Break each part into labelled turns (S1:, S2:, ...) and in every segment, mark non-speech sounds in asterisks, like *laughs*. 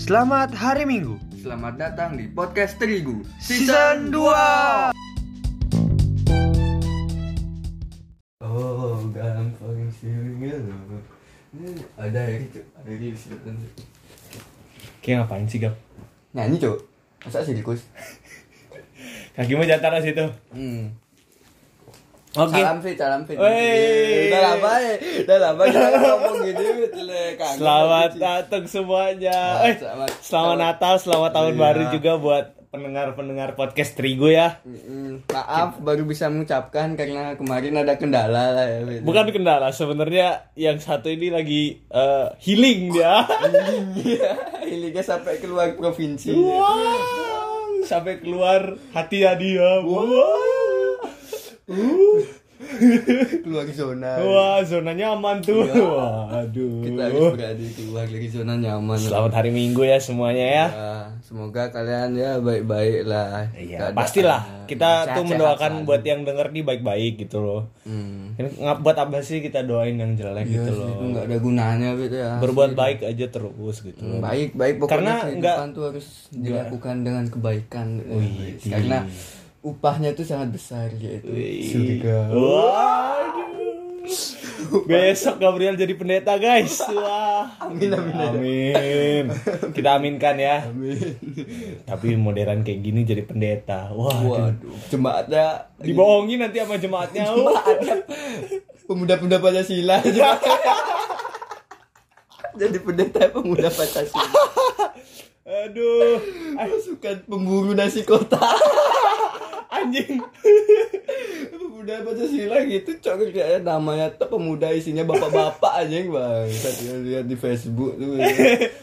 S1: Selamat hari Minggu
S2: Selamat datang di podcast Terigu
S1: Season 2
S2: Oh, gampang feeling alone. Ada ya gitu, ada di situ.
S3: Kayak ngapain sih Gap?
S2: Nyanyi cok, Nah, masa sirkus?
S3: Kaki mau jangan taruh situ
S2: Hmm.
S3: Oke
S2: Salam fit, salam fit.
S3: Wey.
S2: Udah lama ya, udah lama kita ngomong gini, jelek. Kangen
S3: Selamat
S2: banget,
S3: datang semuanya
S2: Selamat-
S3: eh,
S2: selamat-
S3: Selamat, Natal, selamat Tahun
S2: Iya.
S3: Baru juga buat pendengar-pendengar podcast Terigu
S2: Ci.
S3: ya
S2: Mm-mm. Hmm, Maaf, baru bisa mengucapkan karena kemarin ada kendala lah ya. Fit.
S3: Bukan kendala, sebenarnya yang satu ini lagi eh, healing dia
S2: Iya. Iliga sampai keluar provinsi.
S3: Wow, sampai keluar hati ya dia Wow. Uh.
S2: Keluar zona.
S3: Wah, zona nyaman tuh
S2: Iya.
S3: Waduh
S2: Kita harus berada keluar dari zona nyaman.
S3: Selamat hari Minggu ya semuanya ya
S2: Ya, semoga kalian ya baik-baik lah. Keadaannya.
S3: Iya,
S2: kan.
S3: pastilah. Kita tuh
S2: Sehat-sehat
S3: mendoakan
S2: selalu.
S3: buat yang denger nih baik-baik gitu loh.
S2: kan. Hmm.
S3: Ini ngap- buat apa sih kita doain yang jelek
S2: Iya,
S3: gitu
S2: sih,
S3: loh.
S2: itu nggak ada gunanya gitu ya.
S3: Berbuat baik aja terus gitu. loh.
S2: baik baik pokoknya
S3: Karena Iya.
S2: kehidupan tuh harus dilakukan dengan kebaikan ya.
S3: Oh,
S2: karena upahnya tuh sangat besar yaitu Hmm. surga
S3: Waduh. Besok Gabriel jadi pendeta guys. Wah. Amin amin. Kita aminkan ya. Tapi modern kayak gini jadi pendeta. Wah.
S2: waduh ya. cuma ada
S3: Dibohongin nanti sama jemaatnya. Wah.
S2: pemuda-pemuda Pancasila *laughs* jadi pendeta pemuda Pancasila
S3: Aduh.
S2: pasukan pemburu nasi kota *laughs*
S3: Anjing. *laughs*
S2: pemuda Pancasila gitu cok kerjanya namanya tuh pemuda isinya bapak-bapak anjing bang saya lihat di Facebook tuh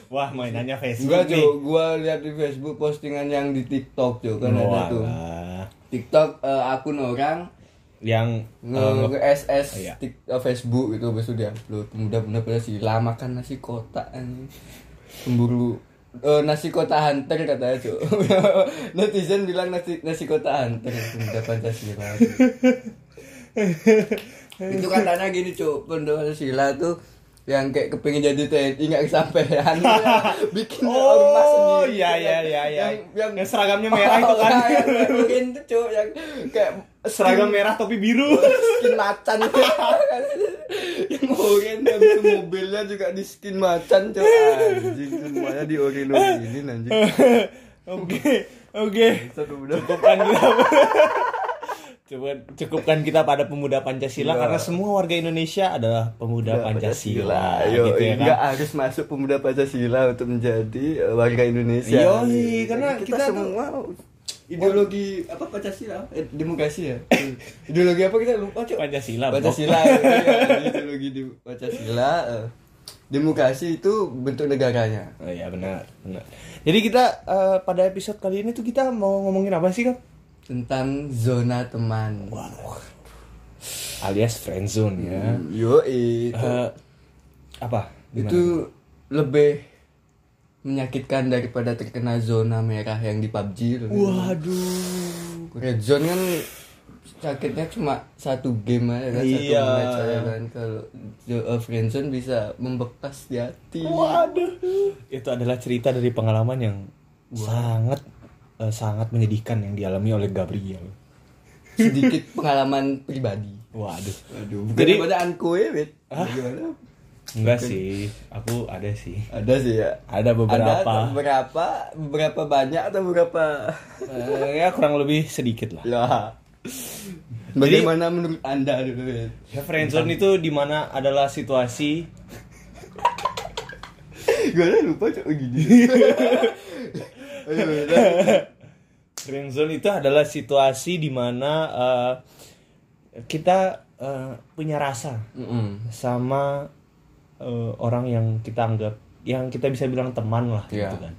S3: Wah, mainannya Facebook
S2: Enggak
S3: nih.
S2: cok, gua lihat di Facebook postingan yang di TikTok cok kan
S3: Oh,
S2: ada tuh.
S3: Walah.
S2: TikTok eh, akun orang
S3: yang
S2: nge,
S3: eh, nge-
S2: nge- SS
S3: iya.
S2: tik- eh, Facebook gitu besok dia upload pemuda-pemuda pada sila makan kan nasi kotak anjing. Pemburu eh, nasi kota hunter katanya cok *laughs* netizen bilang nasi nasi kota hunter pemuda pancasila itu katanya gini cok pemuda pancasila tuh yang kayak kepengen jadi TNI nggak
S3: *laughs*
S2: kesampaian bikin ormas
S3: oh
S2: sendiri.
S3: iya iya iya iya
S2: yang, yang,
S3: yang seragamnya merah
S2: *laughs*
S3: itu kan
S2: Nah, yang mungkin tuh cuk yang kayak
S3: seragam merah topi biru
S2: skin macan yang oren habis itu mobilnya juga di skin macan cuk anjing semuanya di oren ini anjing
S3: *laughs* oke oke
S2: satu udah
S3: cukupkan kita *laughs* Cukup, cukupkan kita pada pemuda Pancasila
S2: Iya.
S3: karena semua warga Indonesia adalah pemuda Pancasila,
S2: Yo,
S3: gitu ya
S2: nggak
S3: kan.
S2: harus masuk pemuda Pancasila untuk menjadi eh, warga Indonesia.
S3: Yoi, karena
S2: Jadi
S3: kita tuh-
S2: semua ideologi apa Pancasila? Eh, demokrasi ya. *laughs* ideologi apa kita lupa cuk?
S3: Pancasila. Bok.
S2: Pancasila ya, iya, ideologi di Pancasila eh, demokrasi itu bentuk negaranya
S3: Oh iya benar, benar. Jadi kita eh, pada episode kali ini tuh kita mau ngomongin apa sih, Kak?
S2: tentang zona teman
S3: Alias friendzone ya.
S2: yo itu
S3: Eh, apa? Gimana?
S2: itu lebih menyakitkan daripada terkena zona merah yang di PUBG itu.
S3: Waduh.
S2: red zone kan sakitnya cuma satu game aja kan
S3: Iya.
S2: satu match aja kan kalau zo- eh, friend zone bisa membekas di hati
S3: Waduh. Itu adalah cerita dari pengalaman yang sangat eh, sangat menyedihkan yang dialami oleh Gabriel.
S2: sedikit pengalaman pribadi
S3: Waduh.
S2: Aduh, bukan
S3: Jadi-
S2: daripada anku ya, Bet. Bagaimana?
S3: Enggak sih, aku ada sih.
S2: Ada sih ya.
S3: Ada beberapa.
S2: Ada atau beberapa, beberapa banyak atau beberapa?
S3: Eh, ya kurang lebih sedikit lah.
S2: ya. Bagaimana menurut Anda *laughs* dulu, Bet?
S3: Ya friendzone itu dimana adalah situasi
S2: Gue udah lupa cok *laughs* gini. Ayo, Bet.
S3: friendzone itu adalah situasi dimana eh, kita eh, punya rasa
S2: Mm-mm.
S3: sama eh, orang yang kita anggap yang kita bisa bilang teman lah
S2: Iya.
S3: gitu kan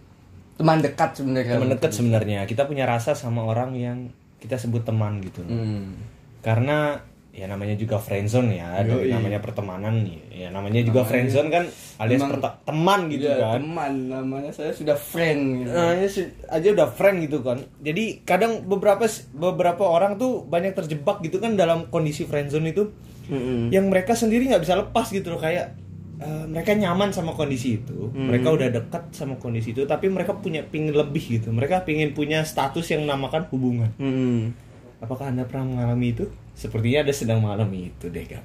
S2: Teman dekat sebenarnya.
S3: teman dekat sebenarnya kita punya rasa sama orang yang kita sebut teman gitu
S2: Hmm.
S3: karena ya namanya juga friendzone ya dari
S2: Yoi.
S3: namanya pertemanan ya namanya juga friendzone kan alias
S2: emang-
S3: perte- teman gitu
S2: Iya,
S3: kan
S2: teman namanya saya sudah friend gitu.
S3: Nah, ini se- aja udah friend gitu kan. Jadi kadang beberapa s- beberapa orang tuh banyak
S2: Hmm.
S3: terjebak gitu kan dalam kondisi friendzone itu, yang mereka sendiri nggak bisa lepas gitu loh kayak eh, mereka nyaman sama kondisi itu,
S2: Hmm.
S3: mereka udah dekat sama kondisi itu, tapi mereka punya pingin lebih gitu. Mereka pingin punya status yang namakan hubungan.
S2: Hmm.
S3: Apakah anda pernah mengalami itu? Sepertinya anda sedang mengalami itu deh, Gap.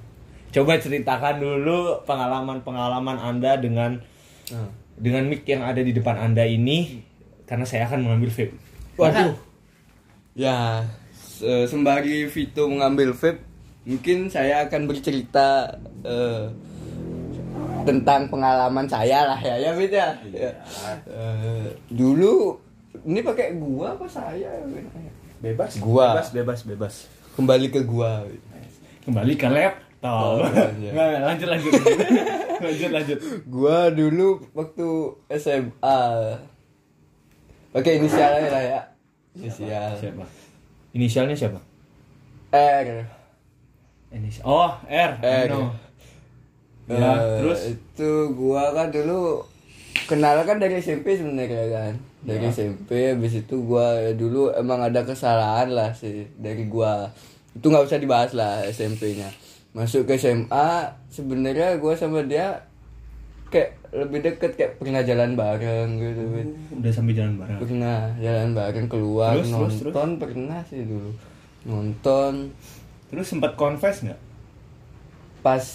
S3: Coba ceritakan dulu pengalaman-pengalaman anda dengan
S2: Ah.
S3: dengan mic yang ada di depan anda ini, karena saya akan mengambil vape.
S2: Waduh. Ya, se- sembari Vito mengambil vape, mungkin saya akan bercerita eh, tentang pengalaman saya lah ya, ya Fit ya. Ya. Eh, dulu ini pakai gua apa saya? Fit?
S4: Bebas.
S2: Gua.
S4: Bebas, bebas, bebas.
S2: Kembali ke gua. Fit.
S3: Kembali ke laptop.
S2: Oh,
S3: *laughs*
S2: iya.
S3: Nggak, nggak, lanjut
S2: *laughs*
S3: lanjut. lanjut lanjut.
S2: Gua dulu waktu SMA pakai inisialnya lah ya. Inisial.
S3: Siapa? Inisialnya siapa?
S2: R.
S3: Inisial. Oh, R.
S2: R. iya.
S3: Ano.
S2: Eh,
S3: Ya, terus?
S2: itu gua kan dulu kenal kan dari SMP sebenarnya kan
S3: Ya.
S2: dari SMP habis itu gua ya dulu emang ada kesalahan lah sih dari gua itu nggak usah dibahas lah SMP-nya masuk ke SMA sebenarnya gua sama dia kayak lebih deket kayak pernah jalan bareng gitu Fit.
S3: Udah sampai jalan bareng.
S2: pernah jalan bareng keluar
S3: Terus, terus,
S2: nonton pernah sih dulu nonton
S3: Terus sempat confess nggak?
S2: pas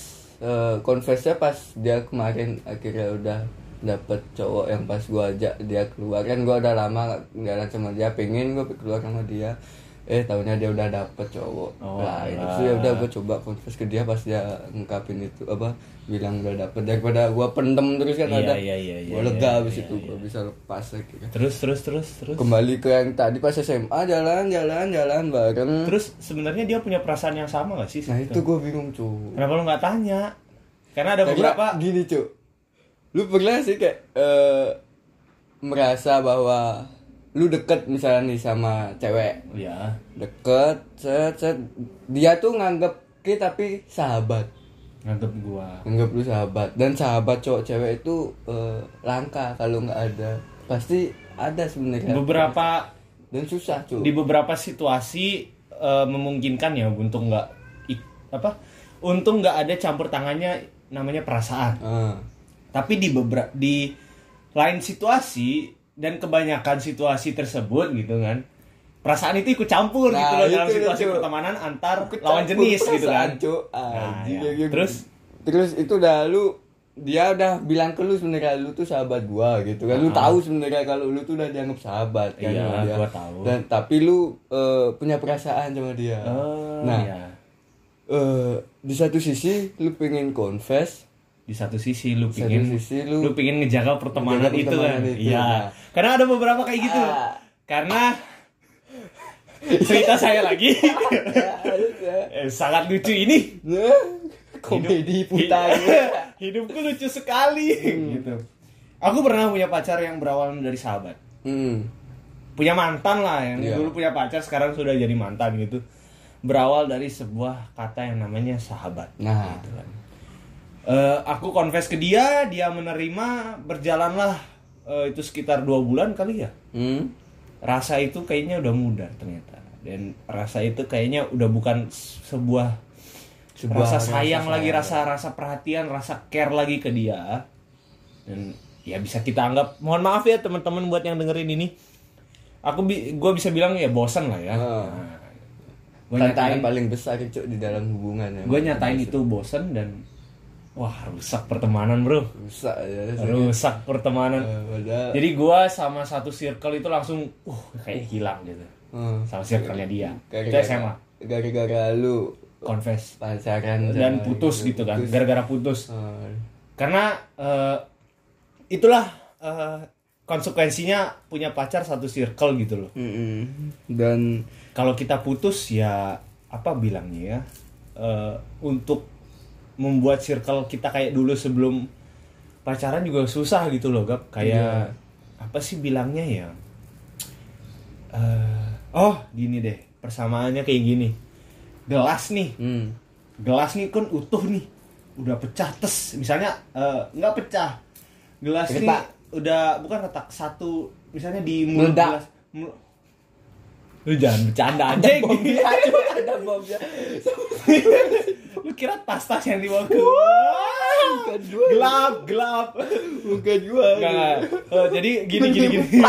S2: eh, konversnya pas dia kemarin akhirnya udah dapet cowok yang pas gua ajak dia keluar kan gua udah lama nggak- nggak sama dia pengen gua keluar sama dia eh tahunnya dia udah dapet cowok
S3: Oh,
S2: lain
S3: alah.
S2: terus ya udah gua coba konvers ke dia pas dia ngungkapin itu apa bilang udah dapet daripada gua pendem terus kan
S3: Iya,
S2: ada
S3: iya, iya, iya,
S2: gua
S3: iya,
S2: lega
S3: iya,
S2: abis
S3: iya,
S2: itu gua bisa lepas akhirnya
S3: Terus terus terus terus.
S2: kembali ke yang tadi pas SMA jalan jalan jalan bareng
S3: Terus sebenarnya dia punya perasaan yang sama gak sih?
S2: nah itu Nah,
S3: sebetulnya?
S2: gua bingung cuy
S3: Kenapa lu nggak tanya? Karena ada
S2: Karena
S3: beberapa.
S2: gini cuk lu pernah sih kayak eh, merasa bahwa lu deket misalnya nih sama cewek
S3: Ya.
S2: deket set set dia tuh nganggep kita tapi sahabat
S3: Nganggep gua.
S2: nganggep lu sahabat dan sahabat cowok cewek itu eh, langka kalau nggak ada pasti ada sebenarnya
S3: Beberapa
S2: dan susah cuk
S3: di beberapa situasi eh, memungkinkan ya untuk nggak ik- apa? Untung nggak ada campur tangannya namanya perasaan.
S2: Ah.
S3: Tapi di beberapa di lain situasi dan kebanyakan situasi tersebut gitu kan. Perasaan itu ikut campur
S2: Nah,
S3: gitu loh dalam
S2: itu dia,
S3: situasi
S2: Cuk.
S3: pertemanan antar
S2: Kecampur
S3: lawan jenis gitu
S2: perasaan,
S3: kan.
S2: Cuk.
S3: Nah,
S2: Anjing,
S3: ya.
S2: kayak gitu.
S3: Terus?
S2: terus itu udah lu dia udah bilang ke lu sebenarnya lu tuh sahabat gua gitu kan. Lu tahu sebenarnya kalau lu tuh udah dianggap sahabat kan
S3: Ah. Iya,
S2: sama dia.
S3: gua tahu.
S2: Dan tapi lu eh, punya perasaan sama dia.
S3: Oh,
S2: nah,
S3: iya.
S2: eh, di satu sisi lu pengen
S3: *laughs*
S2: confess
S3: Di satu sisi lu
S2: Satu
S3: pingin
S2: sisi
S3: lu,
S2: lu-
S3: pingin ngejaga
S2: ngejaga
S3: pertemanan itu kan.
S2: pertemanan itu,
S3: Iya.
S2: nah.
S3: Karena ada beberapa kayak gitu.
S2: Ah.
S3: Karena cerita saya
S2: *laughs*
S3: lagi
S2: Ya,
S3: Eh, sangat lucu ini.
S2: ya. komedi gitu. Hmm. putar
S3: *laughs* Iya. Hidupku lucu sekali gitu. Aku pernah punya pacar yang berawalan dari sahabat.
S2: hmm.
S3: punya mantan lah yang
S2: Iya.
S3: dulu punya pacar sekarang sudah jadi mantan gitu berawal dari sebuah kata yang namanya sahabat
S2: Nah.
S3: gitu kan. Eh, aku confess ke dia dia menerima berjalanlah eh, itu sekitar dua bulan kali ya
S2: Hmm.
S3: rasa itu kayaknya udah mudar ternyata dan rasa itu kayaknya udah bukan s- sebuah,
S2: Sebuah
S3: rasa
S2: rasa
S3: sayang lagi
S2: sayang.
S3: rasa rasa perhatian rasa care lagi ke dia dan ya bisa kita anggap mohon maaf ya teman-teman buat yang dengerin ini aku bi gue bisa bilang ya bosan lah ya
S2: Oh.
S3: gue
S2: Tantangan
S3: nyatain
S2: paling besar cuk di dalam hubungan ya.
S3: gua nyatain itu bosan dan wah rusak pertemanan bro
S2: rusak ya.
S3: rusak pertemanan
S2: Eh, padahal-
S3: jadi gua sama satu circle itu langsung uh kayak hilang gitu
S2: Hmm.
S3: sama circle-nya dia itu
S2: Gara-gara-
S3: SMA
S2: Gara-gara lu
S3: confess
S2: pacaran
S3: dan
S2: sama
S3: putus gitu kan
S2: putus.
S3: gara-gara putus
S2: Ah,
S3: karena eh, itulah eh, konsekuensinya punya pacar satu circle gitu loh
S2: mm-mm. Dan
S3: kalau kita putus ya apa bilangnya ya Eh, untuk membuat circle kita kayak dulu sebelum pacaran juga susah gitu loh gap kayak apa sih bilangnya ya Eh, oh gini deh persamaannya kayak gini gelas nih
S2: hmm.
S3: gelas nih kan utuh nih udah pecah tes misalnya eh, nggak pecah gelas
S2: Retak.
S3: nih udah bukan retak satu misalnya di mulut
S2: Meledak.
S3: gelas mul- lu jangan bercanda anjing *laughs*
S2: ada bomnya.
S3: lu kira tas tas yang dibawa ke
S2: Bukan dua.
S3: gelas gelap gelap
S2: Muka gua.
S3: Enggak, enggak. Eh, jadi gini gini gini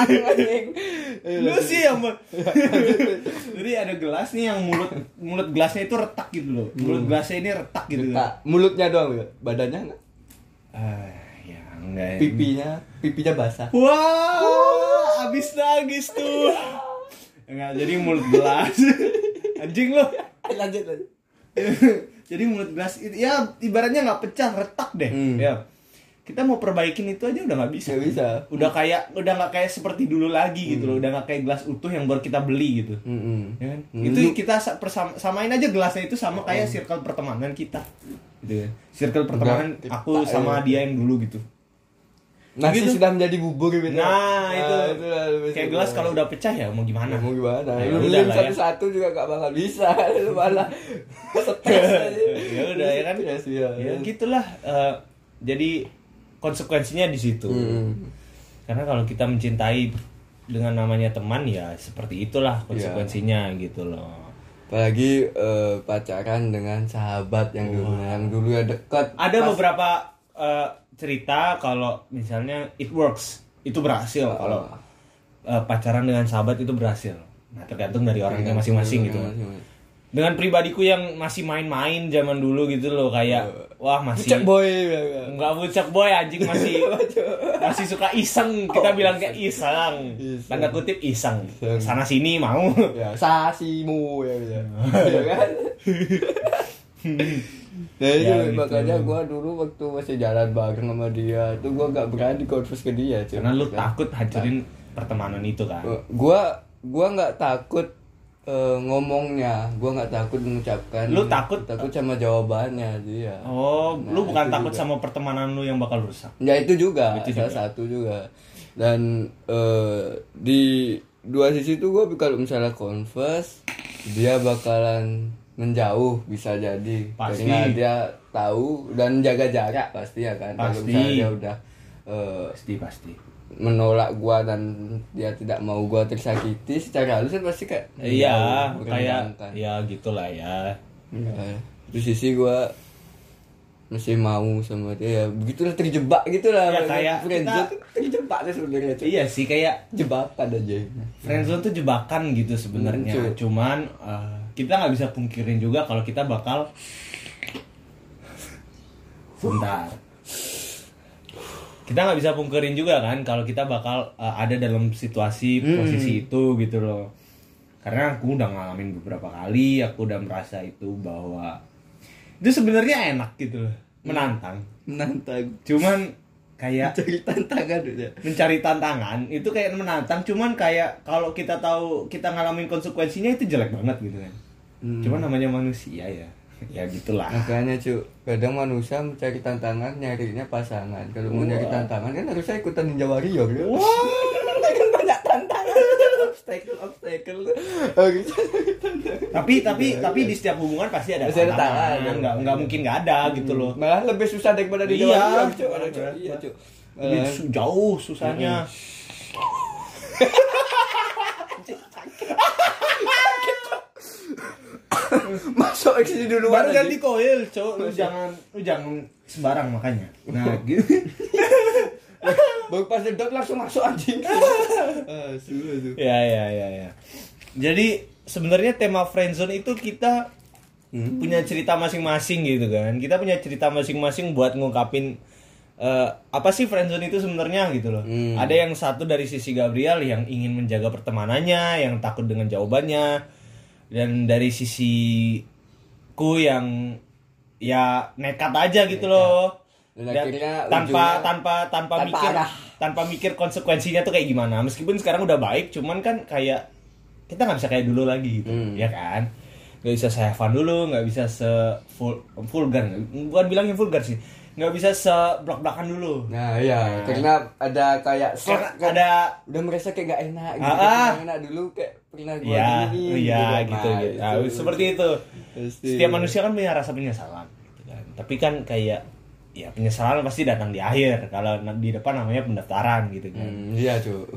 S3: lu sih yang men- *laughs* jadi ada gelas nih yang mulut mulut gelasnya itu retak gitu loh mulut gelasnya ini retak gitu
S2: Nah, mulutnya doang, Wil. badannya enggak?
S3: ah ya enggak ya.
S2: Pipinya, pipinya basah.
S3: Wow, habis nangis tuh. Enggak, jadi mulut gelas. Anjing lo.
S2: Lanjut, lanjut.
S3: jadi mulut gelas itu ya ibaratnya nggak pecah, retak deh.
S2: Hmm.
S3: Ya. Kita mau perbaikin itu aja udah nggak bisa.
S2: Nggak bisa.
S3: Udah kayak udah nggak kayak seperti dulu lagi gitu loh. Udah nggak kayak gelas utuh yang baru kita beli gitu.
S2: Mm-mm.
S3: Ya kan?
S2: Hmm.
S3: Itu kita sa- persam- samain aja gelasnya itu sama kayak circle pertemanan kita. Gitu ya. Circle pertemanan
S2: Enggak,
S3: aku
S2: kita, ya.
S3: sama dia yang dulu gitu.
S2: Nasi
S3: Gitu.
S2: sudah menjadi bubur gitu.
S3: Nah, itu.
S2: lah, lebih
S3: kayak
S2: seru.
S3: gelas kalau udah pecah ya mau
S2: Ya,
S3: gimana?
S2: mau gimana?
S3: Ya,
S2: lu beli
S3: udah lah ya.
S2: satu-satu juga gak bakal bisa. *laughs* Lu malah stres
S3: *laughs*
S2: aja.
S3: *laughs* ya udah ya kan.
S2: Stres, iya.
S3: Ya gitulah. eh, jadi konsekuensinya di situ.
S2: Hmm.
S3: Karena kalau kita mencintai dengan namanya teman ya seperti itulah konsekuensinya gitu loh.
S2: Apalagi eh, pacaran dengan sahabat yang dulu yang dulu ya dekat.
S3: Ada beberapa eh, cerita kalau misalnya it works itu berhasil kalau eh, pacaran dengan sahabat itu berhasil. Nah tergantung dari
S2: Iya,
S3: orangnya masing-masing gitu. Dengan pribadiku yang masih main-main zaman dulu gitu loh kayak
S2: Iya.
S3: wah masih Iya.
S2: Cek boy. ya,
S3: Enggak bucek boy anjing
S2: *laughs*
S3: masih masih suka iseng kita bilang kayak iseng.
S2: Oh, Iseng.
S3: Tanda kutip iseng.
S2: Iseng.
S3: Sana sini mau.
S2: *laughs* Ya, sasimu ya gitu. Iya
S3: *laughs*
S2: kan? Nah, itu
S3: Ya, gitu.
S2: makanya gua dulu waktu masih jalan bareng sama dia, itu gua gak berani confess ke dia, cuy.
S3: Karena lu
S2: Kan?
S3: takut hancurin pertemanan itu kan.
S2: Oh. gua gua nggak takut eh, ngomongnya gua nggak takut mengucapkan
S3: Lu takut-
S2: takut sama jawabannya dia
S3: Oh,
S2: Nah,
S3: lu bukan
S2: itu
S3: takut
S2: juga.
S3: sama pertemanan lu yang bakal rusak.
S2: ya itu juga
S3: Itu
S2: salah
S3: juga.
S2: satu juga dan eh, di dua sisi itu gua kalau misalnya converse dia bakalan menjauh bisa jadi
S3: Pasti.
S2: karena dia tahu dan jaga jarak pasti ya kan kalau
S3: Pasti.
S2: misalnya dia udah eh,
S3: Pasti pasti.
S2: menolak gua dan dia tidak mau gua tersakiti secara halus kan pasti kayak
S3: Iya,
S2: menjauh,
S3: kayak
S2: merendahkan.
S3: ya gitulah ya.
S2: Ya, di sisi gua masih mau sama dia ya begitulah terjebak gitulah
S3: Ya, kayak
S2: friendzone
S3: kita-
S2: tuh terjebak tuh sebenarnya cuy.
S3: Iya sih kayak
S2: jebakan aja
S3: friendzone tuh jebakan gitu sebenarnya.
S2: Hmm, cu.
S3: Cuman eh, kita nggak bisa pungkirin juga kalau kita bakal sebentar. Kita nggak bisa pungkirin juga kan kalau kita bakal eh, ada dalam situasi posisi itu gitu loh. Karena aku udah ngalamin beberapa kali, aku udah merasa itu bahwa itu sebenarnya enak gitu loh, menantang.
S2: menantang
S3: Cuman *laughs* kayak
S2: cari tantangan aja
S3: mencari tantangan itu kayak menantang cuman kayak kalau kita tahu kita ngalamin konsekuensinya itu jelek banget gitu kan
S2: Hmm.
S3: cuman namanya manusia ya ya gitulah
S2: *laughs* makanya cuy kadang manusia mencari tantangan nyarinya pasangan kalau mau nyari tantangan kan harusnya ikutan ninja warrior ya *laughs* kan banyak
S3: *laughs*
S2: tantangan obstacle obstacle harusnya
S3: tapi tapi tapi di setiap hubungan pasti
S2: Iya,
S3: ada
S2: Pasti ada
S3: tantangan
S2: tantangan. Hmm.
S3: nggak nggak mungkin nggak ada gitu loh
S2: malah lebih susah daripada ninja
S3: Iya.
S2: warrior cuy Malah, cuy. iya Hmm. cuy
S3: Lebih su- jauh
S2: *laughs*
S3: susahnya
S2: masuk eksisi duluan
S3: baru
S2: aja.
S3: ganti koil cowok lu jangan lu jangan sembarang makanya nah gitu
S2: Baru pas sedot langsung masuk *laughs* anjing. Ah, suruh tuh.
S3: ya ya ya ya jadi sebenarnya tema friendzone itu kita
S2: Hmm.
S3: punya cerita masing-masing gitu kan kita punya cerita masing-masing buat ngungkapin eh, apa sih friendzone itu sebenarnya gitu loh
S2: Hmm.
S3: ada yang satu dari sisi Gabriel yang ingin menjaga pertemanannya yang takut dengan jawabannya dan dari sisi ku yang ya nekat aja gitu loh
S2: Dan akhirnya
S3: tanpa
S2: ujungnya-
S3: tanpa tanpa
S2: Tanpa
S3: mikir
S2: arah.
S3: tanpa mikir konsekuensinya tuh kayak gimana meskipun sekarang udah baik cuman kan kayak kita nggak bisa kayak dulu lagi gitu
S2: Hmm.
S3: ya kan nggak bisa se have fun dulu nggak bisa se full vulgar bukan bilangnya vulgar sih nggak bisa se blak blakan dulu
S2: Nah, iya, karena ada kayak slot
S3: Karena
S2: kan.
S3: ada
S2: udah merasa kayak gak enak gitu.
S3: Ah,
S2: kayak
S3: ah.
S2: nggak enak dulu kayak pernah gua
S3: ya
S2: gini,
S3: ya gitu
S2: iya, Nah,
S3: gitu
S2: itu.
S3: Ah, seperti itu
S2: Pasti.
S3: setiap manusia kan punya rasa penyesalan gitu kan. tapi kan kayak ya penyesalan pasti datang di akhir kalau na- di depan namanya pendaftaran gitu
S2: *laughs*
S3: kan
S2: Hmm, iya, Cuk.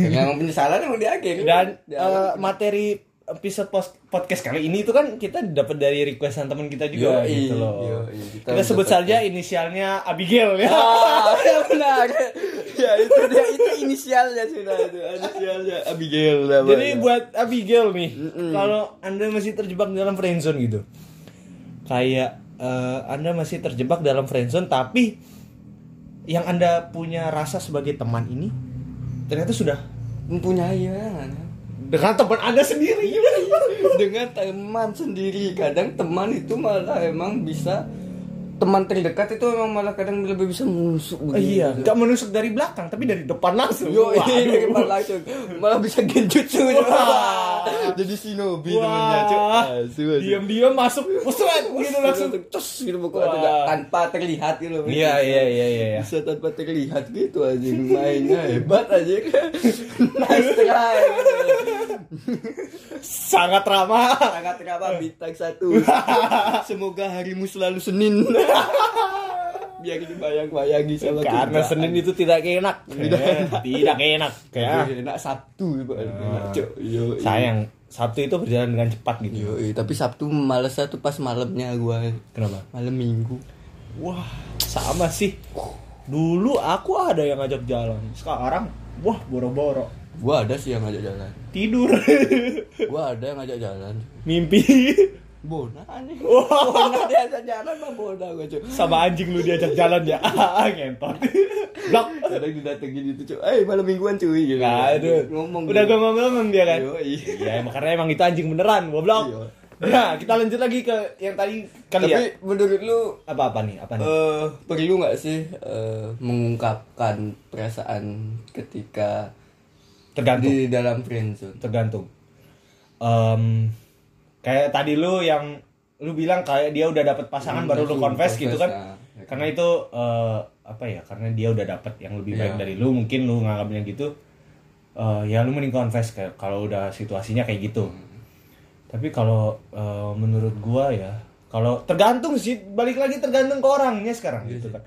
S2: Karena emang penyesalan emang di akhir.
S3: dan
S2: Di
S3: eh,
S2: awal.
S3: materi episode pos- podcast kali ini itu kan kita dapat dari requestan teman kita
S2: Yoi,
S3: juga gitu loh.
S2: yoi,
S3: kita
S2: kita
S3: sebut
S2: mendapat-
S3: saja inisialnya Abigail
S2: *laughs*
S3: ya.
S2: Ah, ya benar. *laughs* Ya itu dia itu inisialnya sudah itu inisialnya Abigail namanya.
S3: *laughs* Jadi buat Abigail nih, kalau Anda masih terjebak dalam friendzone gitu. Kayak eh, Anda masih terjebak dalam friendzone tapi yang Anda punya rasa sebagai teman ini ternyata sudah
S2: mempunyai ya.
S3: dengan teman Anda sendiri.
S2: Iya. dengan teman sendiri kadang teman itu malah emang bisa teman terdekat itu emang malah kadang lebih bisa menusuk
S3: Eh, iya,
S2: begitu.
S3: nggak menusuk dari belakang tapi dari depan langsung.
S2: yo *laughs*
S3: Waduh.
S2: ini depan langsung malah bisa genjutsu
S3: Wah.
S2: jadi shinobi temennya Ah, cuy
S3: Wah,
S2: Asu, asu.
S3: diam-diam masuk, pusat gitu langsung.
S2: terus gitu
S3: Wah.
S2: pokoknya tidak- tanpa terlihat gitu
S3: Iya, iya, iya, iya, iya.
S2: bisa tanpa terlihat gitu aja mainnya hebat aja *laughs* nice try
S3: *laughs* Sangat ramah.
S2: sangat kenapa bintang
S3: *laughs*
S2: satu semoga harimu selalu senin *laughs* biar dibayang-bayangi sama
S3: Karena
S2: kerjaan.
S3: Senin itu tidak enak.
S2: kan. *laughs* Tidak
S3: Eh, tidak enak. Kayak ah.
S2: Lebih enak sabtu Pak. Lebih enak, Cok. Yo, i.
S3: sayang Sabtu itu berjalan dengan cepat gitu
S2: Yo, i. tapi sabtu malesnya tuh pas malamnya gua
S3: kenapa
S2: malam minggu
S3: wah sama sih dulu aku ada yang ngajak jalan sekarang wah boro-boro
S2: gua ada sih yang ngajak jalan
S3: tidur *laughs*
S2: gua ada yang ngajak jalan
S3: mimpi
S2: Bona
S3: *laughs*
S2: nih Bona dia ngajak jalan sama Bona gua cuy
S3: sama anjing lu diajak jalan ya *laughs* ngentot blok
S2: kadang didatengin itu cuy eh malam mingguan cuy gitu
S3: aduh
S2: ngomong
S3: Nah,
S2: gitu.
S3: udah gue ngomong dia kan
S2: Yo, i.
S3: Iya, emang karena emang itu anjing
S2: Iya.
S3: beneran goblok nah kita lanjut lagi ke yang tadi kali
S2: tapi
S3: ya
S2: menurut lu
S3: apa apa nih apa nih
S2: eh perlu nggak sih eh, mengungkapkan perasaan ketika
S3: tergantung
S2: di dalam friendzone?
S3: gitu, tergantung Em, kayak tadi lu yang lu bilang kayak dia udah dapet pasangan
S2: Hmm,
S3: baru lu
S2: langsung
S3: confess
S2: confess,
S3: gitu kan
S2: nah, ya kan.
S3: karena itu eh, apa ya karena dia udah dapet yang lebih baik
S2: Iya.
S3: dari lu mungkin lu ngalaminnya gitu eh, ya lu mending confess kayak kalau udah situasinya kayak gitu
S2: Hmm.
S3: tapi kalau eh, menurut gua ya kalau tergantung sih balik lagi tergantung ke orangnya
S2: Iya
S3: sekarang gitu kan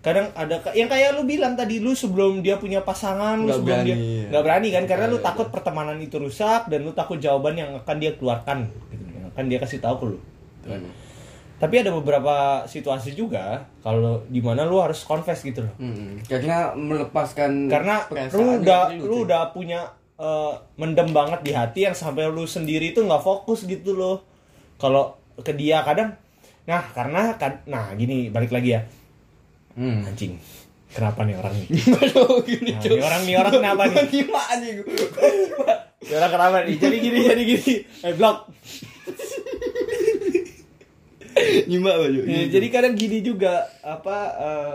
S3: kadang ada ka- yang kayak lu bilang tadi lu sebelum dia punya pasangan lu
S2: Nggak
S3: sebelum
S2: berani,
S3: dia
S2: ya.
S3: nggak berani kan karena lu takut pertemanan itu rusak dan lu takut jawaban yang akan dia keluarkan gitu yang akan dia kasih tahu ke lu
S2: Hmm.
S3: tapi ada beberapa situasi juga kalau di mana lu harus confess gitu loh
S2: Hmm, karena melepaskan
S3: karena
S2: perasaan
S3: lu
S2: yang
S3: udah
S2: perlu,
S3: lu
S2: cuy.
S3: udah punya eh, mendem banget di hati yang sampai lu sendiri itu nggak fokus gitu loh kalau ke dia kadang nah karena kad- nah gini balik lagi ya
S2: Hmm.
S3: anjing kenapa nih orang nih
S2: *laughs* Aduh, gini,
S3: Nah,
S2: cuy.
S3: nih orang- nih orang kenapa nih?
S2: Gua gimana nih gua?
S3: *laughs* Ya *laughs* orang kenapa nih? Jadi gini, jadi gini. Eh, blok.
S2: Nyimak Iya. Pak, cuy.
S3: Ya, jadi kadang gini juga apa eh,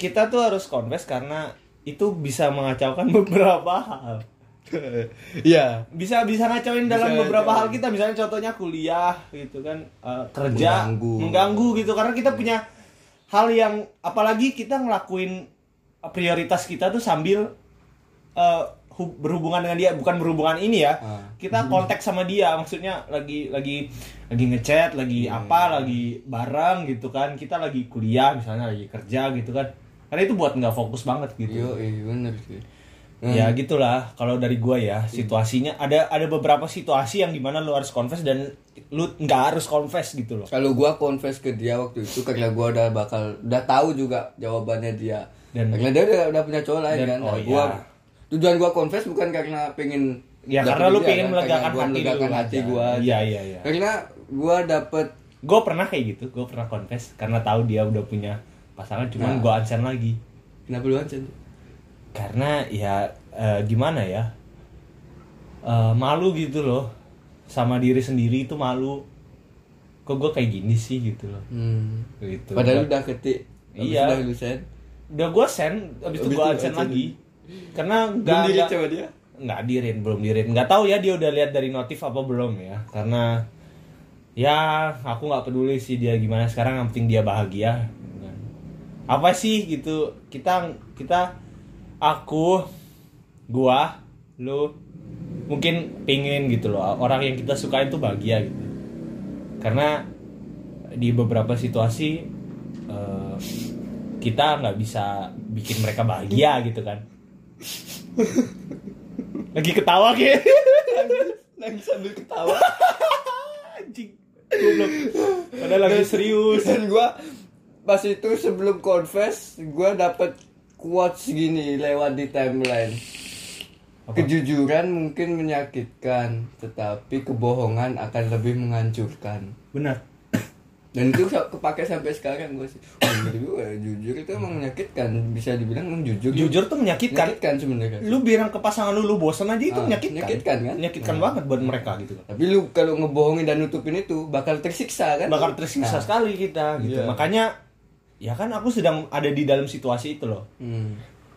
S3: kita tuh harus confess karena itu bisa mengacaukan *laughs* beberapa hal.
S2: Iya.
S3: Bisa bisa ngacauin dalam
S2: Bisa
S3: beberapa
S2: ngacauin.
S3: hal kita. Misalnya contohnya kuliah gitu kan, eh, kerja
S2: Mengganggu.
S3: mengganggu gitu karena kita punya hal yang apalagi kita ngelakuin prioritas kita tuh sambil eh, hub- berhubungan dengan dia bukan berhubungan ini ya
S2: Ah. *laughs*
S3: kita kontak sama dia maksudnya lagi lagi lagi ngechat lagi
S2: Iya.
S3: apa lagi bareng gitu kan kita lagi kuliah misalnya lagi kerja gitu kan karena itu buat nggak fokus banget
S2: Yo,
S3: gitu
S2: iya bener sih.
S3: ya
S2: Hmm.
S3: gitulah kalau dari gua ya situasinya ada ada beberapa situasi yang dimana lu harus confess dan lu nggak harus confess gitu loh
S2: Kalau gua confess ke dia waktu itu karena gua udah bakal udah tahu juga jawabannya dia.
S3: Dan-
S2: karena dia udah, udah punya cowok lain
S3: Dan-
S2: kan. Nah,
S3: oh,
S2: gua
S3: iya.
S2: tujuan gua confess bukan karena pengen
S3: Ya,
S2: dapetin
S3: karena lu
S2: dia,
S3: pengen
S2: kan.
S3: melegakan
S2: Karena gua
S3: hati lu
S2: melegakan hati
S3: aja.
S2: gua. aja.
S3: Iya, iya, iya.
S2: Karena gua dapet
S3: gue pernah kayak gitu gue pernah confess karena tahu dia udah punya pasangan cuman
S2: Nah.
S3: gua gue lagi
S2: kenapa lu aja?
S3: karena ya eh, gimana ya Eh, malu gitu loh sama diri sendiri itu malu kok gue kayak gini sih gitu loh
S2: Hmm.
S3: gitu
S2: Padahal lu udah ketik. Habis
S3: Iya.
S2: Udah lu send.
S3: udah gue send abis
S2: Habis
S3: itu gue
S2: itu
S3: unsend
S2: unsend
S3: lagi karena
S2: Belum
S3: nggak
S2: diri
S3: nggak-
S2: sama dia.
S3: nggak dirin belum dirin nggak tahu ya dia udah lihat dari notif apa belum ya karena ya aku nggak peduli sih dia gimana sekarang yang penting dia bahagia apa sih gitu kita kita aku gua lu mungkin pingin gitu loh orang yang kita sukain tuh bahagia gitu karena di beberapa situasi eh, kita nggak bisa bikin mereka bahagia gitu kan lagi ketawa kayak
S2: nangis sambil ketawa
S3: anjing goblok padahal lagi serius
S2: dan gua pas itu sebelum confess gua dapet quotes gini lewat di timeline
S3: Apa?
S2: kejujuran mungkin menyakitkan tetapi kebohongan akan lebih menghancurkan
S3: benar
S2: dan itu sa- kepake sampai sekarang gua sih Oh, Wah, menurut gua, ya, jujur itu emang menyakitkan bisa dibilang emang jujur
S3: jujur tuh menyakitkan
S2: menyakitkan sebenarnya
S3: lu bilang ke pasangan lu lu bosan aja itu
S2: Ah,
S3: menyakitkan
S2: menyakitkan, kan?
S3: menyakitkan
S2: Ah.
S3: banget buat mereka gitu kan
S2: tapi lu kalau ngebohongin dan nutupin itu bakal tersiksa kan
S3: bakal tersiksa
S2: Nah,
S3: sekali kita gitu
S2: Iya.
S3: makanya ya kan aku sedang ada di dalam situasi itu loh
S2: hmm.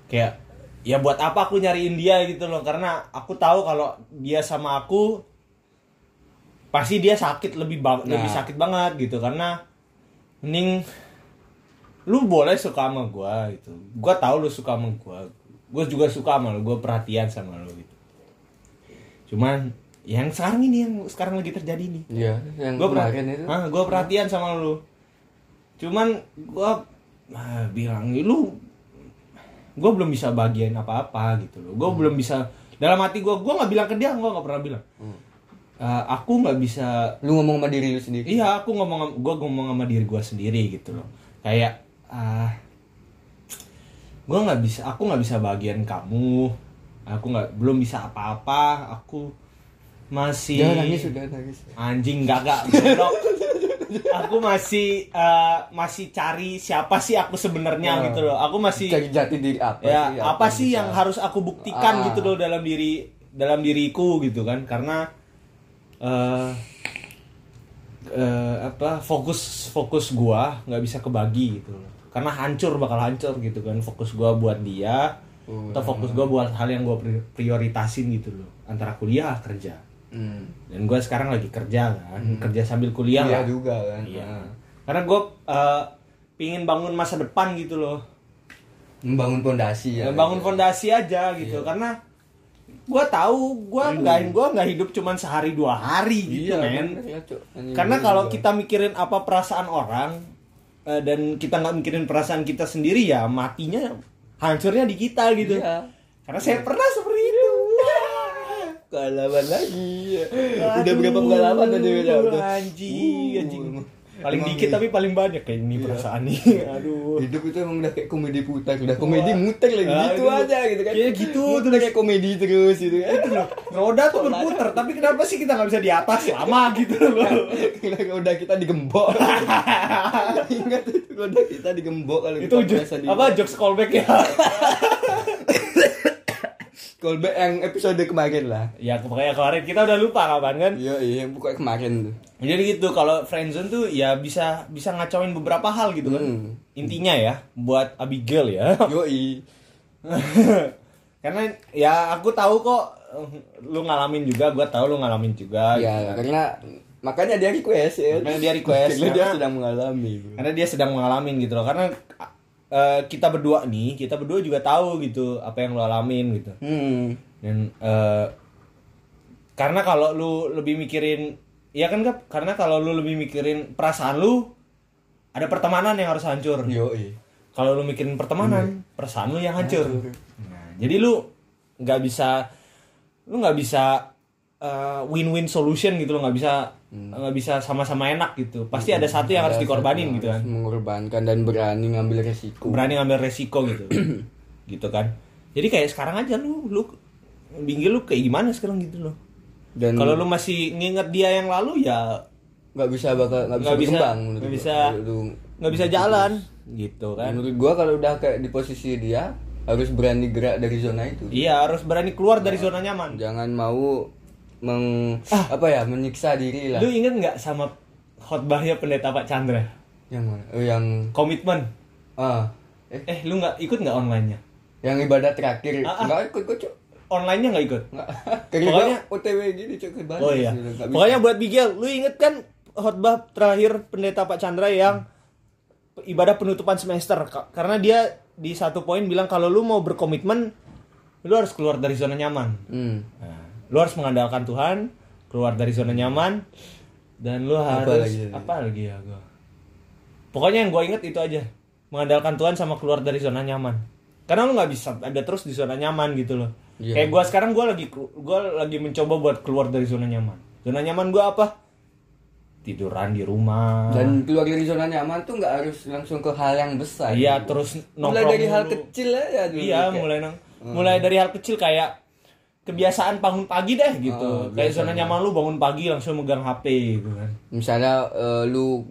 S3: kayak ya buat apa aku nyariin dia gitu loh karena aku tahu kalau dia sama aku pasti dia sakit lebih
S2: Nah.
S3: ba- lebih sakit banget gitu karena mending lu boleh suka sama gua gitu gua tahu lu suka sama gua gua juga suka sama lu gua perhatian sama lu gitu cuman yang sekarang ini yang sekarang lagi terjadi nih
S2: Iya, yang
S3: gue
S2: kemarin itu.
S3: gue perhatian sama lu cuman gue bilang lu gue belum bisa bagian apa-apa gitu loh
S2: Hmm.
S3: gue belum bisa dalam hati gue gue nggak bilang ke dia gue nggak pernah bilang
S2: Hmm.
S3: "Eh, aku nggak bisa
S2: Lu ngomong sama diri lu sendiri.
S3: Iya, aku ngomong gue ngomong sama diri gue sendiri gitu loh. Kayak ah gue nggak bisa, aku nggak bisa bagian kamu. Aku nggak belum bisa apa-apa. Aku masih
S2: Jangan nangis sudah nangis.
S3: anjing nggak nggak goblok. aku masih eh, masih cari siapa sih aku sebenarnya
S2: Ya.
S3: gitu loh. Aku masih
S2: Cari jati diri apa
S3: ya
S2: sih?
S3: apa sih yang
S2: bisa-
S3: harus aku buktikan
S2: Ah.
S3: gitu loh dalam diri dalam diriku gitu kan karena eh eh, apa fokus fokus gua nggak bisa kebagi gitu loh karena hancur bakal hancur gitu kan fokus gua buat dia
S2: Oh,
S3: atau fokus gua buat hal yang gua pri- prioritasin gitu loh antara kuliah kerja
S2: Hmm.
S3: dan gua sekarang lagi kerja kan kerja sambil kuliah
S2: Iya
S3: lah.
S2: juga kan.
S3: Iya. karena gua eh, pingin bangun masa depan gitu loh
S2: Membangun pondasi ya.
S3: Ya, bangun fondasi aja
S2: Iya.
S3: gitu karena gua tahu gua nggak gua nggak hidup cuman sehari dua hari
S2: Hmm. Iya,
S3: gitu men
S2: bener ya, Cuk. Anjing
S3: karena
S2: gua
S3: kalau
S2: juga.
S3: kita mikirin apa perasaan orang eh, dan kita nggak mikirin perasaan kita sendiri ya matinya hancurnya di kita gitu
S2: Iya.
S3: karena saya pernah seperti itu
S2: pengalaman lagi.
S3: Iya.
S2: ya.
S3: Aduh,
S2: Udah berapa pengalaman tadi udah udah.
S3: anjing
S2: Uh,
S3: anjing paling
S2: emang
S3: dikit
S2: iya.
S3: tapi paling banyak kayak ini perasaan nih *laughs* aduh
S2: Hidup itu emang udah kayak komedi putar, udah komedi
S3: Wah.
S2: muter lagi
S3: Ah,
S2: gitu
S3: itu.
S2: aja gitu kan.
S3: Iya, gitu,
S2: Muter
S3: terus.
S2: kayak komedi terus gitu kan.
S3: roda tuh berputar tapi kenapa sih kita nggak bisa di atas lama gitu loh
S2: Karena *laughs* udah kita
S3: *laughs*
S2: digembok. Ingat itu udah kita digembok kalau
S3: itu
S2: kita
S3: jokes, apa jokes callback ya
S2: Callback yang episode kemarin lah.
S3: *laughs* ya makanya kemarin kita udah lupa kapan kan
S2: Iya iya buka kemarin tuh.
S3: jadi gitu kalau friendzone tuh ya bisa bisa ngacauin beberapa hal gitu kan
S2: Hmm.
S3: intinya ya buat Abigail *laughs* ya
S2: Yoi.
S3: karena ya aku tahu kok eh, lu ngalamin juga gua tahu lu ngalamin juga gitu
S2: Ya
S3: kan.
S2: karena makanya dia request ya.
S3: Makanya dia request,
S2: Karena dia
S3: karena-
S2: sedang mengalami. bro.
S3: karena dia sedang mengalami gitu loh karena eh, kita berdua nih kita berdua juga tahu gitu apa yang lu alamin gitu
S2: Hmm.
S3: dan eh, karena kalau lu lebih mikirin ya kan Gap? karena kalau lu lebih mikirin perasaan lu ada pertemanan yang harus hancur
S2: Yoi.
S3: kalau lu mikirin pertemanan perasaan lu yang Iya. hancur Nah, jadi lu nggak bisa lu nggak bisa eh, win-win solution gitu lo nggak bisa nggak bisa sama-sama enak gitu pasti ada satu yang harus
S2: Ada
S3: dikorbanin
S2: satu
S3: gitu
S2: harus
S3: kan
S2: Mengorbankan dan berani ngambil resiko.
S3: berani ngambil resiko gitu *clears throat* gitu kan jadi kayak sekarang aja lu lu pinggir lu kayak gimana sekarang gitu loh
S2: Dan
S3: kalau lu masih nginget dia yang lalu ya
S2: nggak bisa bakal nggak bisa
S3: nggak bisa
S2: berkembang. menurut
S3: nggak
S2: gua.
S3: bisa
S2: Kalau lu-
S3: nggak bisa jalan gitu kan
S2: Menurut gua kalau udah kayak di posisi dia harus berani gerak dari zona itu.
S3: iya harus berani keluar dari
S2: Nah,
S3: zona nyaman
S2: Jangan mau meng apa ya menyiksa diri lah.
S3: Ah. lu inget nggak sama khotbahnya pendeta Pak Chandra
S2: Yang mana? Eh, yang
S3: komitmen
S2: ah eh
S3: eh lu nggak ikut nggak onlinenya
S2: yang ibadah terakhir
S3: Ah, ah.
S2: nggak ikut kok cok
S3: onlinenya nggak ikut
S2: nggak karena
S3: Pokoknya-
S2: gua OTW gini cok ke Bali,
S3: oh iya
S2: gitu, nggak bisa.
S3: pokoknya buat Bigel lu inget kan khotbah terakhir pendeta Pak Chandra yang ibadah penutupan semester Ka- karena dia di satu poin bilang kalau lu mau berkomitmen lu harus keluar dari zona nyaman
S2: hmm.
S3: Nah, lu harus mengandalkan Tuhan, keluar dari zona nyaman, dan lu harus apa lagi,
S2: lagi?
S3: ya gua? Pokoknya yang gue inget itu aja, mengandalkan Tuhan sama keluar dari zona nyaman. karena lu nggak bisa ada terus di zona nyaman gitu loh
S2: Iya.
S3: kayak gua sekarang gua lagi kelu- gua lagi mencoba buat keluar dari zona nyaman zona nyaman gua apa tiduran di rumah
S2: Dan keluar dari zona nyaman tuh nggak harus langsung ke hal yang besar.
S3: Iya, terus
S2: mulai
S3: nongkrong
S2: dari hal
S3: dulu.
S2: kecil aja dulu.
S3: iya
S2: kayak. Hmm.
S3: mulai nang mulai dari hal kecil kayak kebiasaan bangun pagi deh gitu
S2: Oh,
S3: kayak zona nyaman lu bangun pagi langsung megang HP gitu kan
S2: Misalnya eh, lu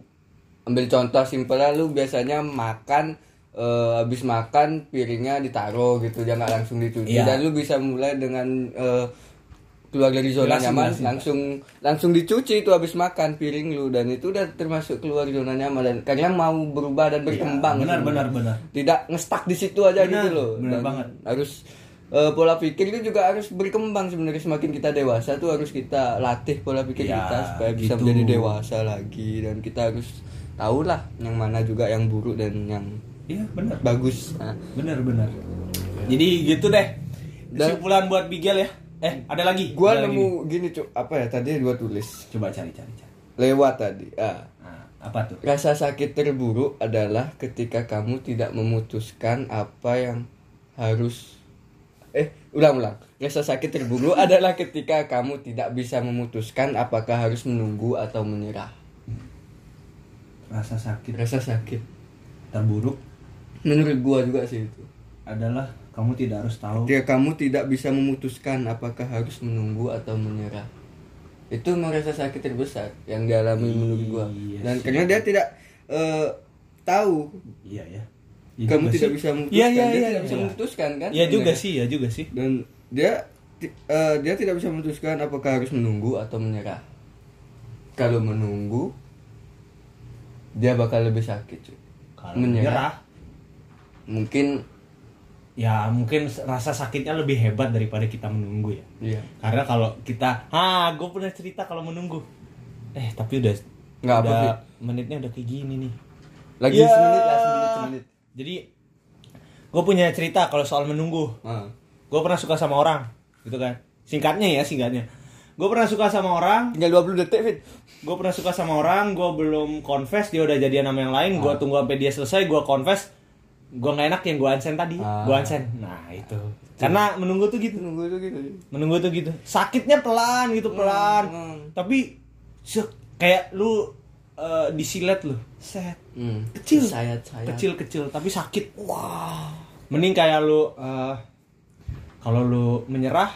S2: ambil contoh simpelnya lu biasanya makan eh, habis makan piringnya ditaruh gitu dia nggak langsung dicuci
S3: Iya.
S2: dan lu bisa mulai dengan eh, keluar dari zona
S3: Jelasin,
S2: nyaman
S3: jelasin, Pak.
S2: langsung langsung dicuci itu habis makan piring lu dan itu udah termasuk keluar zona nyaman dan kalian mau berubah dan berkembang
S4: Iya, benar,
S2: gitu.
S4: benar, benar.
S2: tidak ngestak di situ
S4: Benar,
S2: aja gitu loh
S4: benar
S2: Dan
S4: banget.
S2: harus eh, pola pikir itu juga harus berkembang sebenarnya semakin kita dewasa tuh harus kita latih pola pikir
S3: Ya,
S2: kita supaya bisa
S3: gitu.
S2: menjadi dewasa lagi dan kita harus tahu lah yang mana juga yang buruk dan yang
S4: Iya, benar.
S2: bagus Nah,
S4: Benar, benar.
S3: jadi gitu deh
S2: Dan-
S3: kesimpulan buat Bigel ya eh ada lagi
S2: gua
S3: Ada lagi
S2: nemu gini cuk apa ya tadi gua tulis
S4: nih. Coba cari, cari, cari.
S2: lewat tadi ah
S4: Nah, apa tuh?
S2: Rasa sakit terburuk adalah ketika kamu tidak memutuskan apa yang harus eh ulang-ulang. Rasa sakit terburuk *laughs* adalah ketika kamu tidak bisa memutuskan apakah harus menunggu atau menyerah.
S4: Rasa sakit
S2: Rasa sakit
S4: terburuk
S2: menurut gua juga sih itu.
S4: adalah kamu tidak harus tahu.
S2: Ketika kamu tidak bisa memutuskan apakah harus menunggu atau menyerah. Itu memang rasa sakit terbesar yang dialami menurut gua.
S4: Iya
S2: Dan
S4: sih.
S2: karena dia tidak eh, tahu
S4: Iya ya. Iya
S2: kamu
S4: juga
S2: tidak
S4: sih.
S2: bisa memutuskan,
S3: Iya, iya,
S2: dia
S3: iya,
S2: tidak
S3: iya.
S2: bisa memutuskan kan?
S3: Iya juga
S2: sebenarnya.
S3: sih, ya juga sih.
S2: Dan dia ti- eh, dia tidak bisa memutuskan apakah harus menunggu atau menyerah. Kalau menunggu dia bakal lebih sakit. cuy.
S3: Kalau menyerah,
S2: mungkin
S3: ya mungkin rasa sakitnya lebih hebat daripada kita menunggu ya.
S2: iya.
S3: Karena kalau kita, ah, gue pernah cerita kalau menunggu. Eh, tapi udah
S2: Nggak apa
S3: udah
S2: sih.
S3: menitnya udah kayak gini nih.
S2: Lagi
S3: Ya.
S2: semenit lah semenit semenit.
S3: Jadi gue punya cerita kalau soal menunggu.
S2: Ah.
S3: Gue pernah suka sama orang, gitu kan. Singkatnya ya, singkatnya. Gue pernah suka sama orang,
S2: Tinggal 20 detik, Fit.
S3: gue pernah suka sama orang gue belum confess dia udah jadian sama yang lain gue
S2: Ah.
S3: tunggu sampai dia selesai gue confess gue nggak enak yang gue unsend tadi
S2: Ah. Iya.
S3: gue unsend nah itu karena menunggu tuh gitu
S2: Menunggu itu gitu.
S3: menunggu tuh gitu sakitnya pelan gitu pelan
S2: hmm.
S3: tapi sek, kayak lu eh, disilet lu set
S2: Hmm.
S3: kecil
S2: Sayat-sayat.
S3: kecil kecil tapi sakit wah mending kayak lu eh, kalau lu menyerah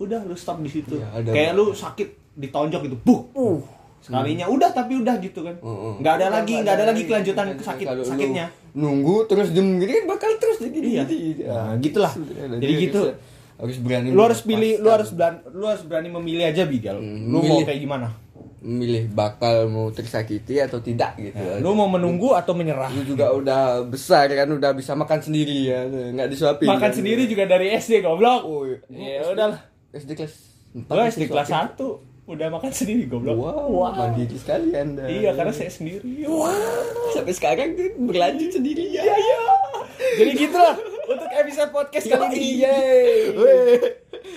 S3: udah lu stop di situ
S2: Iya, ada-
S3: kayak lu sakit ditonjok gitu buh uh sekalinya udah tapi udah gitu kan
S2: Heeh.
S3: nggak ada
S2: Hmm. Udah,
S3: lagi nggak ada, lagi kelanjutan sakit
S2: Kalau lu
S3: sakitnya
S2: Nunggu terus diem gitu kan bakal terus jadi
S3: Iya. Nah, gitulah. Jadi gitu.
S2: Harus berani.
S3: lu harus pilih
S2: melepaskan.
S3: lu harus berani lu harus berani memilih aja bigal
S2: Hmm,
S3: lu mau
S2: milih.
S3: kayak gimana
S2: memilih bakal mau tersakiti atau tidak gitu.
S3: Ya, lu mau menunggu atau menyerah
S2: Lu juga udah besar kan udah bisa makan sendiri ya, nggak disuapin.
S3: makan
S2: kan.
S3: sendiri juga dari SD goblok
S2: Oh, iya.
S3: ya udahlah
S2: SD kelas empat,
S3: gua SD kelas
S2: disuapin.
S3: 1 udah makan sendiri goblok
S2: Wow, mandiri sekali Anda.
S3: Iya karena saya sendiri. Wah.
S2: sampai sekarang tuh berlanjut sendiri ya.
S3: Iya, Jadi gitu lah untuk episode podcast kali
S2: iya.
S3: ini. iya.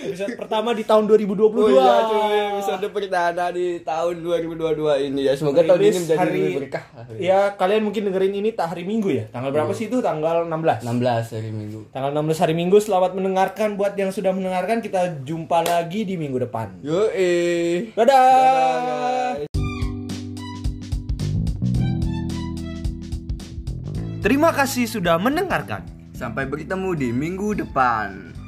S3: Episode pertama di tahun 2022.
S2: Oh iya cuy, episode perdana di tahun 2022 ini ya. Semoga tahun ini
S3: Rilis
S2: menjadi
S3: Nah, hari
S2: lebih berkah. Iya.
S3: Ya, kalian mungkin dengerin ini tak hari Minggu ya. Tanggal berapa sih itu? Tanggal 16.
S2: 16 hari Minggu.
S3: Tanggal 16 hari Minggu. Selamat mendengarkan buat yang sudah mendengarkan. Kita jumpa lagi di minggu depan.
S2: Yo eh.
S3: Dadah.
S1: Terima kasih sudah mendengarkan.
S2: Sampai bertemu di minggu depan.